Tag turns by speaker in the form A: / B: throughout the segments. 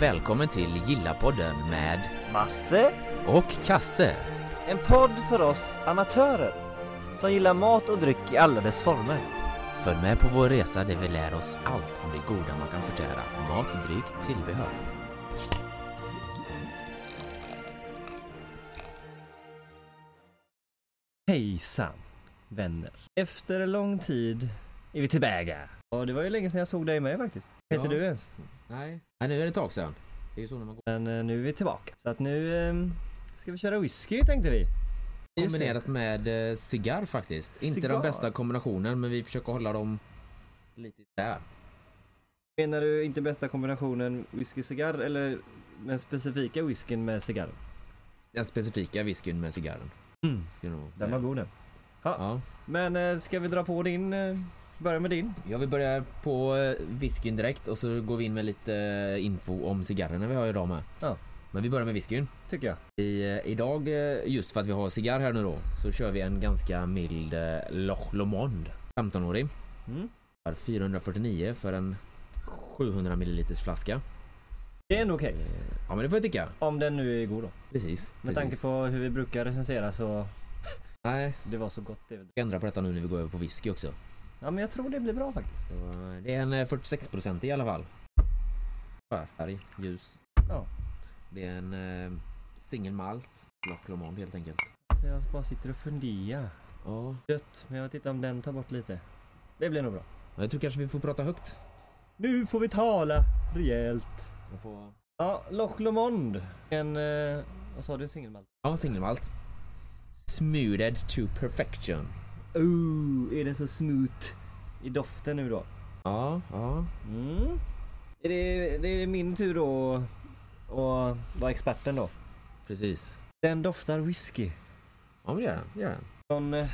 A: Välkommen till Gilla-podden med
B: Masse,
A: och Kasse.
B: en podd för oss amatörer som gillar mat och dryck i alla dess former.
A: Följ med på vår resa där vi lär oss allt om det goda man kan förtära. Mat, dryck, tillbehör.
B: Hejsan vänner. Efter en lång tid är vi tillbaka. Ja, det var ju länge sedan jag såg dig med faktiskt. Vad heter
A: Ja.
B: du ens?
A: Nej, nu är det ett tag sedan. Det är ju så när man går.
B: Men eh, nu är vi tillbaka. Så att nu ehm, ska vi köra whisky tänkte vi. Just det.
A: Kombinerat med eh, cigarr faktiskt. Inte den
B: Cigarr?
A: bästa kombinationen, men vi försöker hålla dem lite där.
B: Menar du inte bästa kombinationen whisky-cigarr eller den specifika whiskyn med cigarr?
A: Den specifika whiskyn med cigarren. skulle jag nog
B: Mm. Den
A: säga.
B: var god den.
A: Ja.
B: Men eh, ska vi dra på din? eh, Börja med din.
A: Jag vill börja på eh, whiskyn direkt och så går vi in med lite eh, info om cigarrerna vi har idag med.
B: Ja.
A: Men vi börjar med whiskyn.
B: Tycker jag.
A: I, eh, idag, eh, just för att vi har cigarr här nu då, så kör vi en ganska mild eh, Loch Lomond. 15-årig.
B: Mm.
A: Har 449 för en 700 milliliters flaska.
B: Det är ändå okej.
A: Ja men det får jag tycka.
B: Om den nu är god då.
A: Precis.
B: Med tanke
A: precis.
B: på hur vi brukar recensera så
A: Nej,
B: det var så gott det.
A: jag ändrar på detta nu när vi går över på whisky också.
B: Ja men jag tror det blir bra faktiskt.
A: Så, eh, det är en eh, 46% i alla fall. Skär, Färg, ljus.
B: Ja.
A: Det är en eh, single malt. Loch Lomond helt enkelt.
B: Så jag bara sitter och funderar.
A: Ja,
B: Dött, men jag tittar om den tar bort lite. Det blir nog bra.
A: men jag tror kanske vi får prata högt.
B: Nu får vi tala rejält.
A: Jag får...
B: Ja, Loch Lomond. En, eh, vad sa du, en singelmalt?
A: Ja, singelmalt. Smoothed to perfection.
B: Oh, är den så smooth i doften nu då?
A: Ja, ja.
B: Mm. Är det, det är min tur då att vara experten då.
A: Precis.
B: Den doftar whisky.
A: Ja, men det gör den. Det gör den.
B: Från... Eh,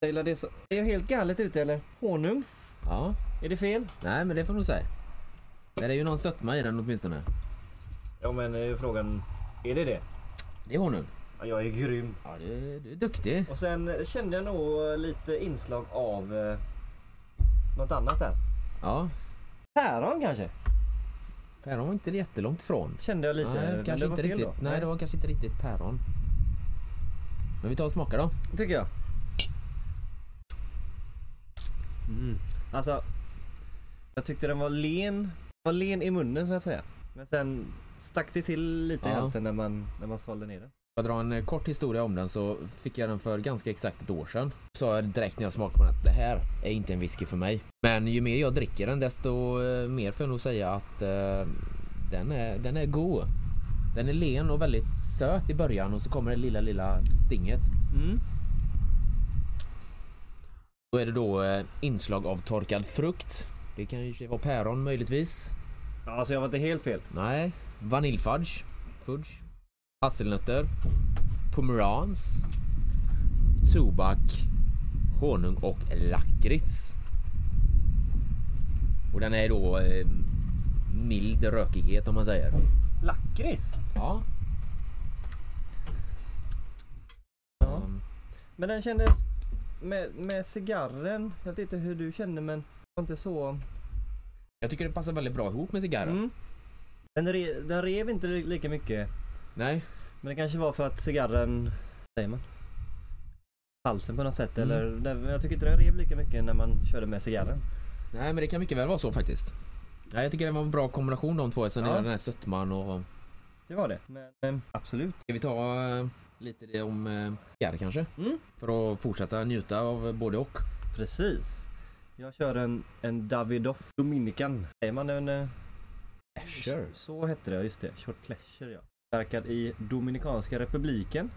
B: Taylor, det är, så, är jag helt galet ute eller? Honung?
A: Ja.
B: Är det fel?
A: Nej, men det får man nog säga. Det är ju någon sötma i den åtminstone.
B: Ja men är ju frågan, är det det?
A: Det är honung.
B: Ja, jag är grym.
A: Ja, du, du är duktig.
B: Och sen eh, kände jag nog eh, lite inslag av eh, något annat där.
A: Ja.
B: Päron kanske?
A: Päron var inte jättelångt ifrån.
B: Kände jag lite.
A: Nej,
B: men
A: kanske
B: det var
A: inte
B: fel
A: riktigt.
B: Då.
A: Nej, det var kanske inte riktigt päron. Men vi tar och smakar då.
B: Tycker jag. Mm. Alltså, jag tyckte den var len. var len i munnen så att säga. Men sen stack det till lite i
A: Ja.
B: halsen när man, när man svalde ner den.
A: Jag drar en eh, kort historia om den så fick jag den för ganska exakt ett år sedan. Sa jag direkt när jag smakade på den att det här är inte en whisky för mig. Men ju mer jag dricker den desto eh, mer får jag nog säga att eh, den, är, den är god. Den är len och väldigt söt i början och så kommer det lilla lilla stinget.
B: Mm.
A: Då är det då eh, inslag av torkad frukt. Det kan ju i och för sig vara päron möjligtvis.
B: Alltså jag var inte helt fel.
A: Nej, vaniljfudge. Fudge. Hasselnötter. Pomerans. Tobak. Honung och lakrits. Och den är då eh, mild rökighet om man säger.
B: Lakrits?
A: Ja.
B: Ja.
A: Mm,
B: Men den kändes med, med cigarren, jag vet inte hur du kände men det var inte så...
A: Jag tycker det passar väldigt bra ihop med cigarren.
B: Mm. Den, re, den rev inte li- lika mycket.
A: Nej,
B: Men det kanske var för att cigarren, säger man? Halsen på något sätt
A: Mm.
B: eller? Den, jag tycker inte den rev lika mycket när man körde med cigarren.
A: nej, men det kan mycket väl vara så faktiskt. Nej, jag tycker det var en bra kombination de två eftersom det
B: Ja.
A: är den här sötman och...
B: Det var det. Men eh, absolut.
A: Ska vi ta eh, lite det om eh, cigarr kanske?
B: Mm.
A: För att fortsätta njuta av både och.
B: Precis. Jag kör en, en Davidoff Dominican. Säger man en... eh,
A: Sure.
B: Så hette det, just det. Short Pleasure ja. Verkad i Dominikanska republiken.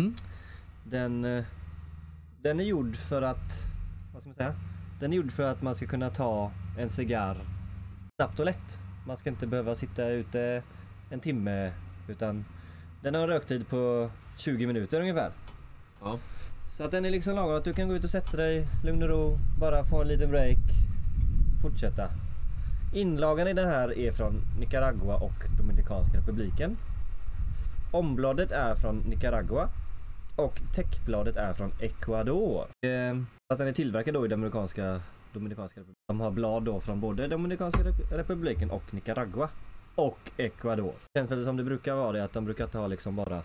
A: Mm.
B: Den, eh, den är gjord för att, vad ska man säga? Den är gjord för att man ska kunna ta en cigarr snabbt och lätt. Man ska inte behöva sitta ute en timme utan den har en röktid på 20 minuter ungefär.
A: Ja.
B: Så att den är liksom lagom att du kan gå ut och sätta dig lugn och ro, bara få en liten break, fortsätta. Inlagan i den här är från Nicaragua och Dominikanska republiken. Ombladet är från Nicaragua och täckbladet är från Ecuador. Eh, fast den är tillverkad då i Dominikanska, Dominikanska republiken. De har blad då från både Dominikanska rep- republiken och Nicaragua. och Ecuador. Känns det som det brukar vara det att de brukar ta liksom bara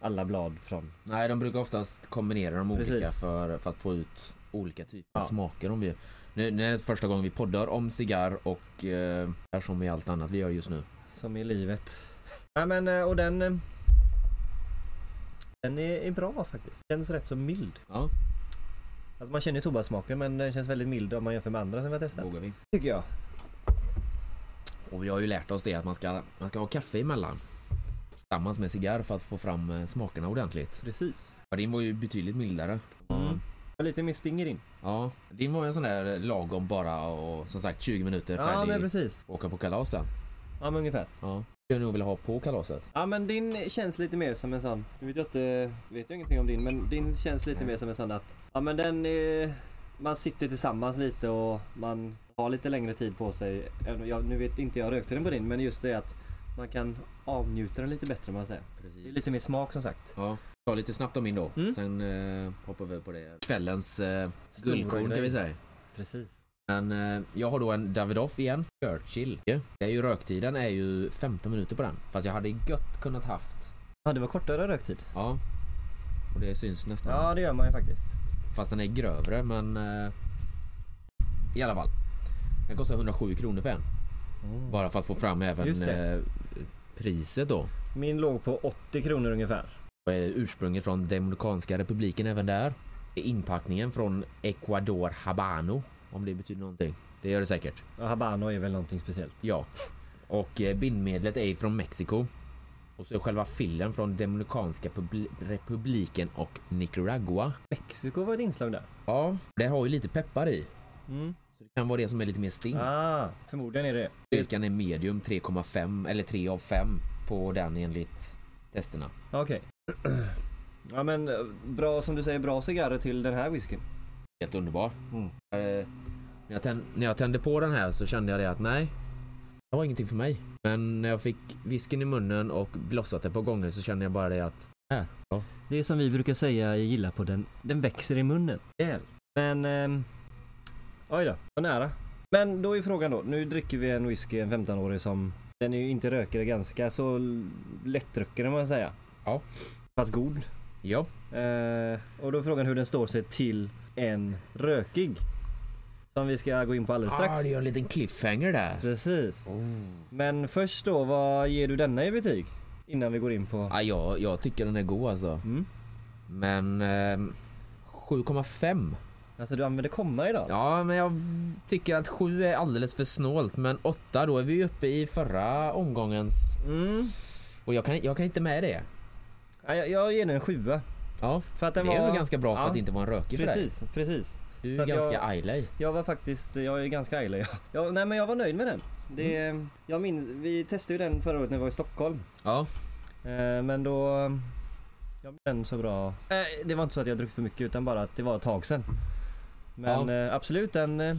B: alla blad från.
A: Nej, de brukar oftast kombinera de olika
B: Precis.
A: för, för att få ut olika typer av
B: Ja.
A: smaker. Om vi, nu, nu är det första gången vi poddar om cigarr och eh, är som i allt annat vi gör just nu.
B: Som i livet. Nej men eh, och den... eh, Den är, är bra faktiskt. Känns rätt så mild.
A: Ja,
B: Alltså man känner ju tobakssmaken men den känns väldigt mild om man jämför med andra som vi har
A: det
B: testat.
A: vågar vi.
B: Tycker jag.
A: Och vi har ju lärt oss det att man ska, man ska ha kaffe emellan. Tillsammans med cigarr för att få fram eh, smakerna ordentligt.
B: Precis.
A: Ja, din var ju betydligt mildare.
B: Mm. Och Lite mer stinger in.
A: Ja, din var ju en sån där lagom bara och som sagt 20 minuter
B: Ja men
A: färdig.
B: precis.
A: åka på kalas sen.
B: Ja men ungefär.
A: Ja. Jag nog vill ha på kalaset.
B: Ja men din känns lite mer som en sån, nu vet jag inte, vet jag ingenting om din, men din känns lite
A: Nej.
B: mer som en sån att, ja men den är, man sitter tillsammans lite och man har lite längre tid på sig. Även om Jag, nu vet inte jag rökte den på din, men just det att man kan avnjuta den lite bättre om man säger.
A: Precis.
B: Det är lite mer smak som sagt.
A: Ja, ta lite snabbt om min då.
B: Mm.
A: Sen eh, hoppar vi över på det. Kvällens eh,
B: Stora
A: guldkorn kan
B: grej.
A: vi säga.
B: Precis.
A: Men eh, jag har då en Davidoff igen. Churchill. Det är ju röktiden är ju 15 minuter på den. Fast jag hade gött kunnat haft.
B: Ja det var kortare röktid.
A: Ja. Och det syns nästan.
B: Ja det gör man ju faktiskt.
A: Fast den är grövre men... Eh, I alla fall. Den kostar 107 kronor för en.
B: Mm.
A: Bara för att få fram även
B: Just det.
A: eh, priset då.
B: Min låg på 80 kronor ungefär.
A: Och är ursprunget från Dominikanska republiken även där. Är Inpackningen från Ecuador Habano, om det betyder någonting. Det gör det säkert.
B: Ja, Habano är väl någonting speciellt.
A: Ja. Och eh, bindmedlet är från Mexiko. Och så är själva fillen från Dominikanska publi- republiken och Nicaragua.
B: Mexiko var ett inslag där.
A: Ja, det har ju lite peppar i.
B: Mm.
A: Så det kan vara det som är lite mer sting.
B: Ah, förmodligen är det
A: Styrkan är medium 3,5 eller 3 av 5 på den enligt testerna.
B: Okej. Ja men eh, bra som du säger, bra cigarrer till den här whiskyn.
A: Helt underbar.
B: Mm.
A: Eh, när, jag tänd, när jag tände på den här så kände jag det att nej, det var ingenting för mig. Men när jag fick whiskyn i munnen och blossat det på gånger så kände jag bara det att här, ja.
B: Det är som vi brukar säga i gilla på den, den växer i munnen. Rejält. Men... ehm, oj då, vad nära. Men då är frågan då, nu dricker vi en whisky, en 15-årig som... Den är ju inte rökare, ganska så l- lättdrucken om man säger.
A: Ja.
B: Fast god.
A: Ja,
B: Eh, och då är frågan hur den står sig till en rökig. Som vi ska gå in på alldeles strax.
A: ah, det gör en liten cliffhanger där.
B: Precis.
A: Oh.
B: Men först då, vad ger du denna i betyg? Innan vi går in på...
A: Ah, ja, jag tycker den är god alltså.
B: Mm.
A: Men ehm, 7,5.
B: Alltså du använder komma idag?
A: Ja, men jag tycker att 7 är alldeles för snålt. Men 8, då är vi ju uppe i förra omgångens.
B: Mm.
A: Och jag kan, jag kan inte med det.
B: Ja, Jag, jag ger den en sjua.
A: Ja,
B: För att den
A: det
B: var...
A: är ju ganska bra för
B: ja.
A: att inte vara en rökig för dig.
B: Precis, precis.
A: Du är
B: Så
A: ju
B: att
A: ganska
B: jag-
A: Islay.
B: Jag var faktiskt, jag är ganska ärlig. Jag, jag, nej men jag var nöjd med den. Det,
A: Mm.
B: Jag minns, vi testade ju den förra året när vi var i Stockholm.
A: Ja,
B: Eh, men då... Jag blev den så bra. Eh, det var inte så att jag druckit för mycket utan bara att det var ett tag sedan. Men
A: Ja.
B: eh, absolut den... Eh,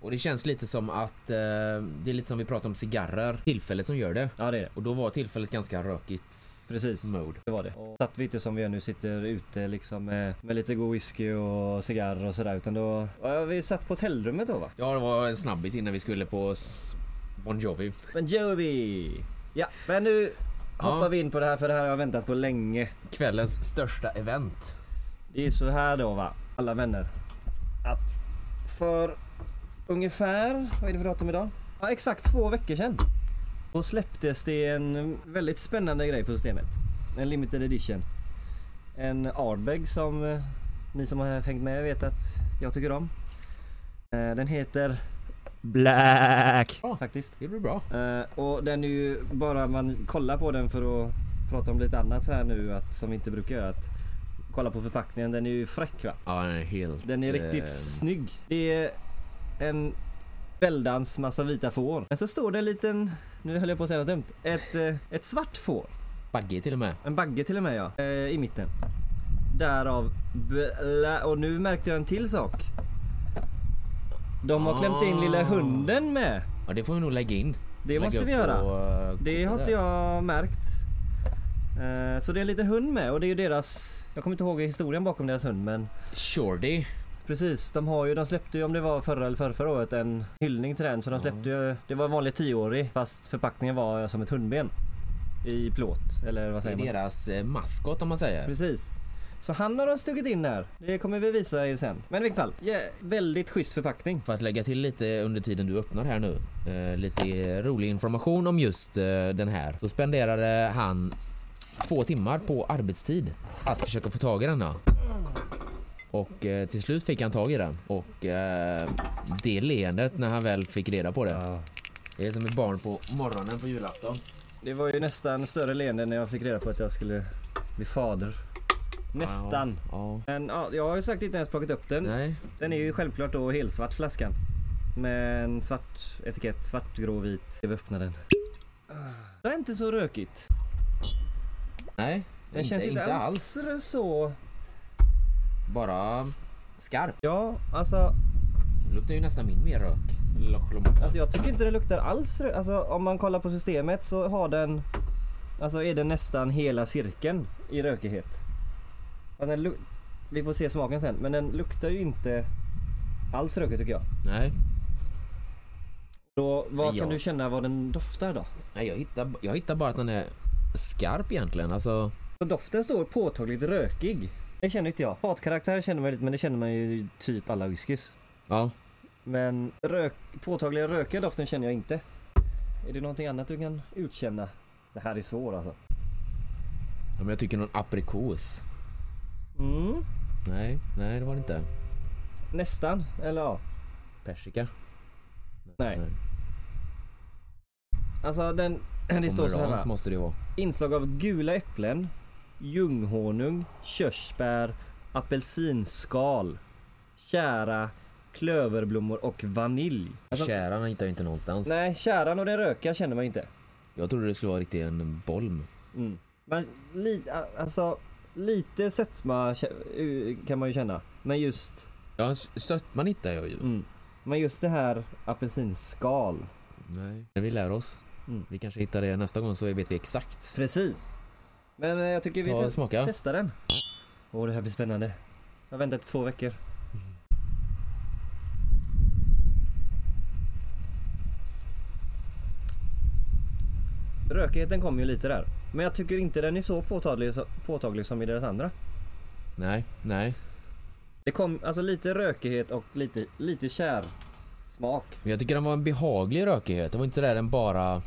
A: och det känns lite som att eh, det är lite som vi pratar om cigarrer, tillfället som gör det.
B: ja det är det.
A: Och då var tillfället ganska rökigt
B: Precis.
A: mode.
B: Det var det. Och satt vi inte som vi gör nu, sitter ute liksom med, med lite god whisky och cigarr och sådär utan då... Ja, vi satt på hotellrummet då va?
A: Ja, det var en snabbis innan vi skulle på s- Bon Jovi.
B: Men Jovi! Ja, men nu hoppar
A: Ja.
B: vi in på det här för det här har jag väntat på länge.
A: Kvällens största event.
B: Det är så här då va, alla vänner. Att för ungefär, vad är det för datum idag? Ja, exakt två veckor sedan. Då släpptes det en väldigt spännande grej på systemet. En limited edition. En Ardbeg som eh, ni som har hängt med vet att jag tycker om. Eh, Den heter Black
A: Bra.
B: faktiskt.
A: Det blir bra.
B: Eh, och den är ju bara man kollar på den för att prata om lite annat så här nu att, som vi inte brukar göra. Att kolla på förpackningen, den är ju fräck va?
A: Ja, den är helt...
B: Den är
A: eh,
B: riktigt snygg. Det är en väldans massa vita får. Men så står det en liten, nu höll jag på att säga något dumt, ett, eh, ett svart får.
A: Baggig till och med.
B: En bagge till och med ja, eh, i mitten. Därav, blä- och nu märkte jag en till sak. De har klämt in lilla
A: Ah.
B: hunden med.
A: Ja, det får vi nog lägga eh, in.
B: Det måste vi göra. Det har inte jag märkt. Eh, Så det är en liten hund med och det är ju deras... Jag kommer inte ihåg historien bakom deras hund men...
A: Shorty
B: Precis, de har ju, de släppte ju om det var förra eller förra, förra året en hyllning till den så de
A: Ja.
B: släppte ju, det var en vanlig 10-årig fast förpackningen var som ett hundben. I plåt eller vad
A: Det är
B: säger man?
A: deras eh, maskot om man säger.
B: Precis. Så han har de stuckit in där. Det kommer vi visa er sen. Men i vilket fall, ja, väldigt schysst förpackning.
A: För att lägga till lite under tiden du öppnar här nu. Eh, lite rolig information om just eh, den här. Så spenderade han två timmar på arbetstid att försöka få tag i denna. Och eh, till slut fick han tag i den. Och eh, det leendet när han väl fick reda på det. Det är som ett barn på morgonen på julafton.
B: Det var ju nästan större leende när jag fick reda på att jag skulle bli fader. Nästan.
A: Ja.
B: Men ja, jag har ju sagt inte ens plockat upp den.
A: Nej.
B: Den är ju självklart då helsvart flaskan. Med en svart etikett, svart, grå, vit. Ska vi öppna den?
A: Ah.
B: Det är inte så rökigt.
A: Nej.
B: Den
A: inte,
B: känns inte,
A: inte alls.
B: alls så...
A: Bara skarp.
B: Ja, alltså
A: Det luktar ju nästan min mer rök. Loch Lomond.
B: Alltså jag tycker inte det luktar alls. rö- Alltså om man kollar på systemet så har den... Alltså är den nästan hela cirkeln i rökighet. Alltså, den luk- vi får se smaken sen men den luktar ju inte alls rökigt tycker jag.
A: Nej.
B: Då, vad
A: Ja.
B: kan du känna vad den doftar då?
A: Nej, jag hittar, jag hittar bara att den är skarp egentligen. Alltså,
B: Så doften står påtagligt rökig. Det känner inte jag. Fatkaraktär känner man lite men det känner man ju i typ alla whiskys.
A: ja.
B: Men rök, påtagliga rökiga doften känner jag inte. Är det någonting annat du kan utkänna? Det här är svårt alltså.
A: Ja, Men jag tycker någon aprikos.
B: Mm.
A: Nej, nej det var det inte.
B: Nästan, eller ja.
A: Persika.
B: Nej. Alltså den, det står så
A: Pomerans
B: här. va?
A: måste det ju vara.
B: Inslag av gula äpplen, ljunghonung, körsbär, apelsinskal, tjära, klöverblommor och vanilj. Alltså,
A: Käran hittar jag inte någonstans.
B: nej, tjäran och den röka känner man ju inte.
A: Jag trodde det skulle vara riktigt en bolm.
B: Mm. Men li, a- alltså, lite sötma kä- u- kan man ju känna. Men just,
A: Ja, s- sötman hittar jag ju.
B: mm. men just det här apelsinskal.
A: Nej. Men vi lär oss.
B: Mm.
A: Vi kanske hittar det nästa gång så vet vi exakt.
B: Precis. Men eh, jag tycker vi
A: Ta
B: tes-
A: och smaka.
B: Testa den. Åh, det här blir spännande. Jag har väntat i två veckor. Rökigheten kom ju lite där. Men jag tycker inte den är så påtaglig, så påtaglig som i deras andra.
A: Nej, nej.
B: Det kom alltså lite rökighet och lite, lite kär smak.
A: Men jag tycker den var en behaglig rökighet. Det var inte där den bara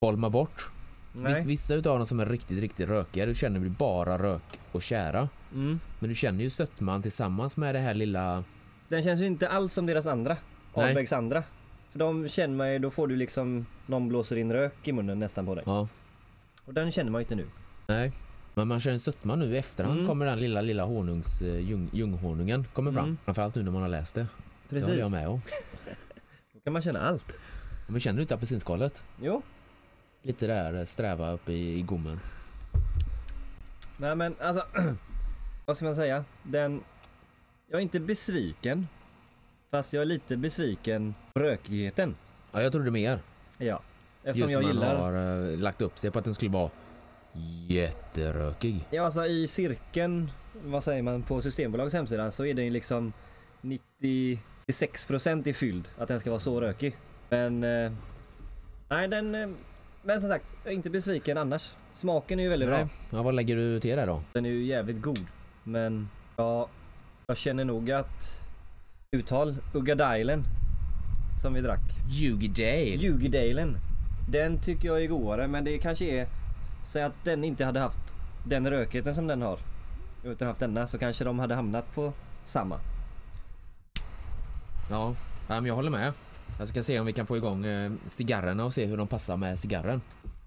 A: bolmar bort. Vis- Vissa utav dem som är riktigt, riktigt rökiga, du känner väl bara rök och kära.
B: Mm.
A: Men du känner ju sötman tillsammans med det här lilla...
B: Den känns ju inte alls som deras andra.
A: Nej.
B: Ahlbergs andra. För de känner man ju, då får du liksom, någon blåser in rök i munnen nästan på dig.
A: Ja,
B: Och den känner man ju inte nu.
A: nej. Men man känner sötman nu i efterhand
B: Mm.
A: kommer den lilla, lilla honungs, eh, ljung, ljunghonungen kommer fram.
B: Mm.
A: Framförallt nu när man har läst det. Det
B: Precis.
A: håller jag med om.
B: Då kan man känna allt.
A: Men känner du inte apelsinskalet?
B: Jo.
A: Lite där eh, sträva upp i, i gommen.
B: Nej men alltså. vad ska man säga? Den. Jag är inte besviken. Fast jag är lite besviken på rökigheten.
A: Ja, jag trodde mer.
B: Ja. Eftersom
A: Just
B: jag
A: man
B: gillar.
A: har eh, lagt upp sig på att den skulle vara jätterökig.
B: Ja alltså i cirkeln. Vad säger man? På Systembolagets hemsida så är den ju liksom 96% i fylld. Att den ska vara så rökig. Men. Eh, nej den. Eh, men som sagt. Jag är inte besviken annars. Smaken är ju väldigt bra.
A: Nej. Ja, vad lägger du till där då?
B: Den är ju jävligt god. Men ja, jag känner nog att uttal Uggadailen som vi drack.
A: Ljugdale.
B: Ljugdalen. Den tycker jag är godare men det kanske är säg att den inte hade haft den rökigheten som den har. Utan haft denna så kanske de hade hamnat på samma.
A: Ja, ja, men jag håller med. Jag ska se om vi kan få igång eh, cigarrerna och se hur de passar med cigarren.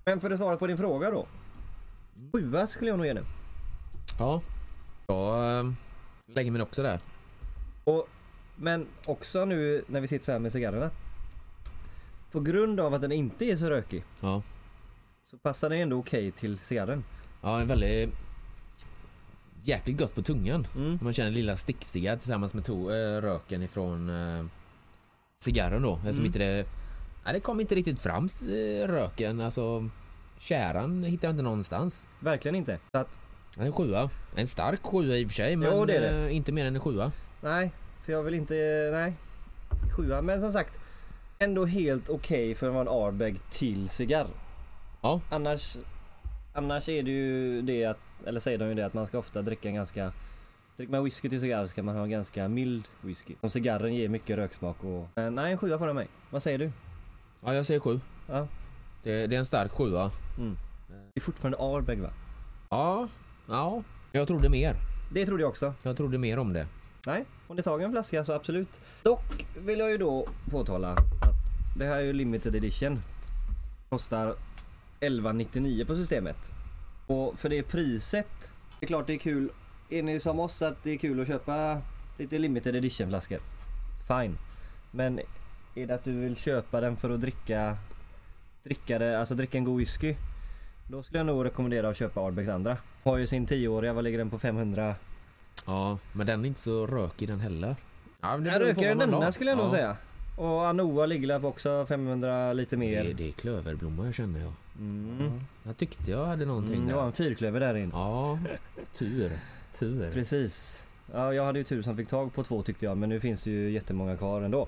B: Men för att svara på din fråga då. Sjua skulle jag nog ge den.
A: Ja, jag eh, lägger mig också där.
B: Och, men också nu när vi sitter så här med cigarrerna. På grund av att den inte är så rökig
A: Ja,
B: så passar den ändå okej till cigarren.
A: ja en väldigt jäkligt gott på tungan.
B: Mm.
A: Man känner lilla stickcigarr tillsammans med to- eh, röken ifrån eh, cigarren då. Eftersom
B: Mm.
A: inte det, nej, det kom inte riktigt fram eh, röken. Alltså käran hittar jag inte någonstans.
B: Verkligen inte. Så att,
A: Ja, En sjua. En stark sjua i och för sig men
B: Jo, det är det.
A: eh, inte mer än en sjua.
B: nej. För jag vill inte, nej. Sjua, men som sagt. Ändå helt okej för att vara en airbag till cigarr.
A: Ja.
B: Annars, annars är det ju det att, eller säger de ju det att man ska ofta dricka en ganska Dricker man whisky till cigarr ska man ha en ganska mild whisky. Om cigarren ger mycket röksmak och... Men nej, en sjua får den mig. Vad säger du?
A: Ja, jag säger sju.
B: Ja.
A: Det, det är en stark sjua.
B: Det är fortfarande airbag va?
A: Ja, ja. Jag trodde mer.
B: Det trodde jag också.
A: Jag trodde mer om det.
B: Nej, om det tager en flaska så absolut. Dock vill jag ju då påtala att det här är ju limited edition. Kostar 11,99 på systemet. Och för det priset, det är klart det är kul. Är ni som oss att det är kul att köpa lite limited edition flaskor? Fine. Men är det att du vill köpa den för att dricka, dricka det, alltså dricka en god whisky? Då skulle jag nog rekommendera att köpa Ardbecks andra. Har ju sin 10-åriga, vad ligger den på? 500?
A: Ja, men den är inte så rökig den heller. Ja, men det
B: Jag
A: beror på
B: röker
A: vad
B: en
A: man la.
B: denna skulle jag nog
A: Ja.
B: säga. Och Anoa ligger på också 500 lite
A: Det,
B: mer.
A: det är klöverblomma känner jag.
B: Mm.
A: Jag tyckte jag hade någonting
B: Mm, det var
A: där.
B: en fyrklöver där in.
A: Ja, tur. Tur.
B: Precis. Ja, jag hade ju tur som fick tag på två tyckte jag men nu finns det ju jättemånga kvar ändå.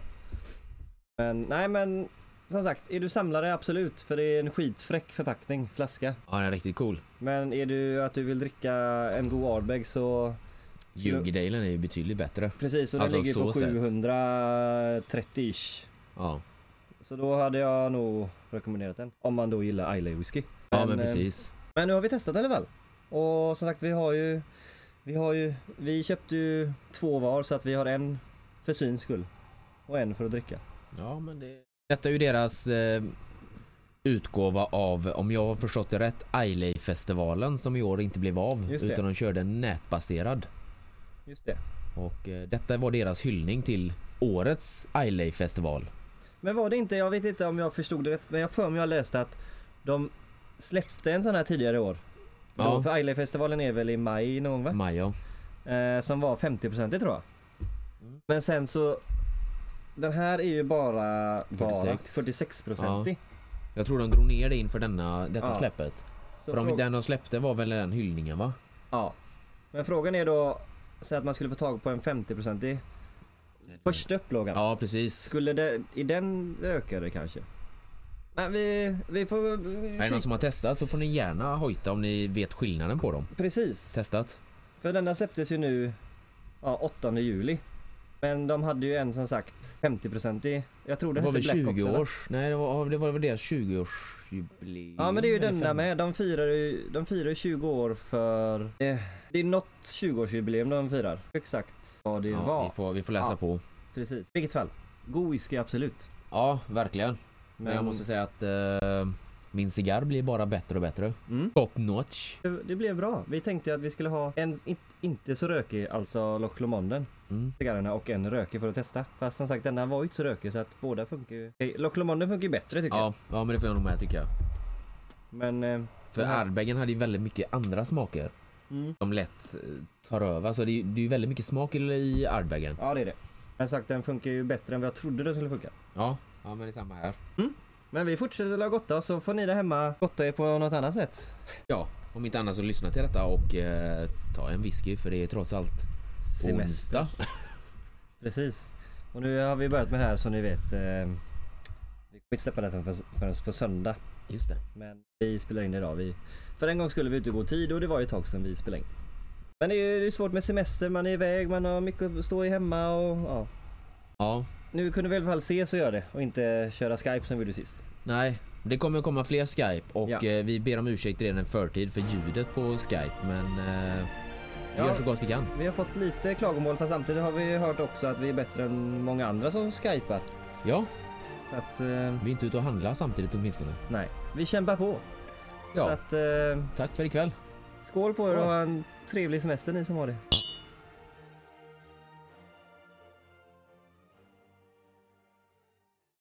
B: Men nej men som sagt, är du samlare absolut för det är en skitfräck förpackning, flaska.
A: Ja, den är riktigt cool.
B: Men är du att du vill dricka en god Ardbeg så
A: Ljugdalen är ju betydligt bättre.
B: precis och den
A: Alltså,
B: ligger
A: så
B: på
A: sett.
B: 730-ish.
A: Ja,
B: Så då hade jag nog rekommenderat den. Om man då gillar Islay whisky.
A: ja men
B: eh,
A: precis.
B: Men nu har vi testat i alla fall. Och som sagt vi har ju Vi har ju Vi köpte ju två var så att vi har en för syns skull. Och en för att dricka.
A: Ja, men det... Detta är ju deras eh, utgåva av, om jag har förstått det rätt, Islay-festivalen som i år inte blev av.
B: Just det.
A: Utan de körde en nätbaserad.
B: Just det.
A: Och eh, detta var deras hyllning till årets Islay-festival.
B: Men var det inte, jag vet inte om jag förstod det rätt men jag för mig jag läste att de släppte en sån här tidigare i år.
A: Ja.
B: Då, för Islay-festivalen är väl i maj någon gång va?
A: Maja.
B: Eh, som var 50% tror jag.
A: Mm.
B: Men sen så Den här är ju bara, bara
A: 46.
B: 46% i.
A: Jag tror de drog ner det inför denna, detta
B: Ja.
A: släppet.
B: Så
A: För de,
B: fråga-
A: den de släppte var väl den hyllningen va?
B: Ja. Men frågan är då, säg att man skulle få tag på en 50% i första upplagan.
A: Mm. Ja precis.
B: Skulle det, i den öka det kanske? Men vi, vi får...
A: Är det någon som har testat så får ni gärna hojta om ni vet skillnaden på dem.
B: Precis.
A: Testat?
B: För denna släpptes ju nu, ja 8 juli. Men de hade ju en som sagt 50% i, jag tror
A: Det
B: den
A: var väl
B: hette Black Ops
A: 20
B: eller?
A: års? Nej det var, det var väl deras 20-årsjubileum?
B: Ja men det är ju
A: eller
B: denna
A: fem-
B: med, de firar ju, de firar ju 20 år för... Eh, det är något 20-årsjubileum de firar. Exakt vad det
A: Ja,
B: var.
A: vi, får, vi får läsa
B: Ja.
A: på.
B: Precis. I vilket fall, god whisky absolut.
A: Ja verkligen. Men, jag måste säga att eh, min cigarr blir bara bättre och bättre.
B: Mm.
A: Top notch.
B: Det- Det blev bra. Vi tänkte ju att vi skulle ha en in, inte så rökig, alltså Loch Lomanden,
A: Mm.
B: cigarrerna och en rökig för att testa. Fast som sagt denna var ju inte så rökig så att båda funkar ju. Okej, Loch Lomanden funkar ju bättre tycker jag.
A: Ja, ja men det får jag nog med tycker jag.
B: Men... Eh,
A: För
B: den här-
A: Ardbeggen hade ju väldigt mycket andra smaker
B: Mm.
A: som lätt eh, tar över. Så det är ju det är ju väldigt mycket smak i- i Ardbeggen.
B: Ja det är det. Men som sagt den funkar ju bättre än vad jag trodde den skulle funka.
A: Ja, ja men det är samma här.
B: Men vi fortsätter att gotta så får ni där hemma gotta er på något annat sätt.
A: Ja, om inte annat så lyssna till detta och eh, ta en whisky för det är trots allt onsdag.
B: Precis. Och nu har vi börjat med det här som ni vet. Eh, vi kommer inte släppa detta förrän- förrän på söndag.
A: Just det.
B: Men vi spelar in idag. Vi, för en gång skulle vi inte gå i tid och det var ju ett tag sedan vi spelade in. Men det är ju det är svårt med semester, man är iväg, man har mycket att stå i hemma och ja.
A: Ja,
B: Nu kunde vi i alla fall ses och göra det och inte köra Skype som vi gjorde sist.
A: nej. Det kommer komma fler Skype och
B: Ja.
A: eh, vi ber om ursäkt redan i förtid för ljudet på Skype men eh, vi
B: Ja.
A: gör så gott vi kan.
B: Vi har fått lite klagomål fast samtidigt har vi hört också att vi är bättre än många andra som skypar.
A: Ja,
B: Så att, eh,
A: vi är inte ute och handlar samtidigt åtminstone.
B: nej. Vi kämpar på. Så
A: Ja,
B: att, eh,
A: tack för ikväll.
B: skål på er
A: Skål.
B: och ha en trevlig semester ni som har det.